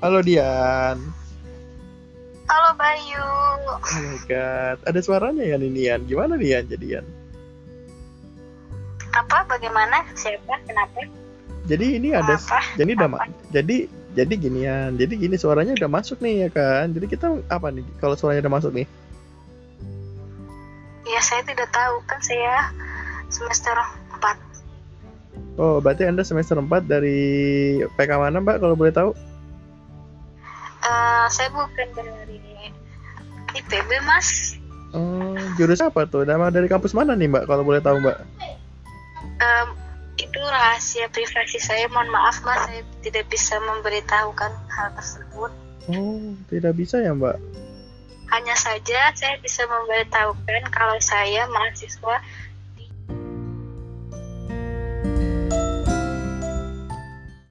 Halo Dian. Halo Bayu. Oh my god, ada suaranya ya nih Dian. Gimana Dian jadian? Apa? Bagaimana? Siapa? Kenapa? Jadi ini ada Apa? jadi udah ma- jadi jadi ginian. Jadi gini suaranya udah masuk nih ya kan. Jadi kita apa nih kalau suaranya udah masuk nih? Ya saya tidak tahu kan saya semester 4 Oh, berarti Anda semester 4 dari PK mana, Mbak kalau boleh tahu? Eh, saya bukan dari IPB mas. Oh, jurusan apa tuh? Nama dari kampus mana nih, Mbak kalau boleh tahu, Mbak? Em, itu rahasia privasi saya. Mohon maaf mas, saya tidak bisa memberitahukan hal tersebut. Oh, tidak bisa ya, Mbak. Hanya saja saya bisa memberitahukan kalau saya mahasiswa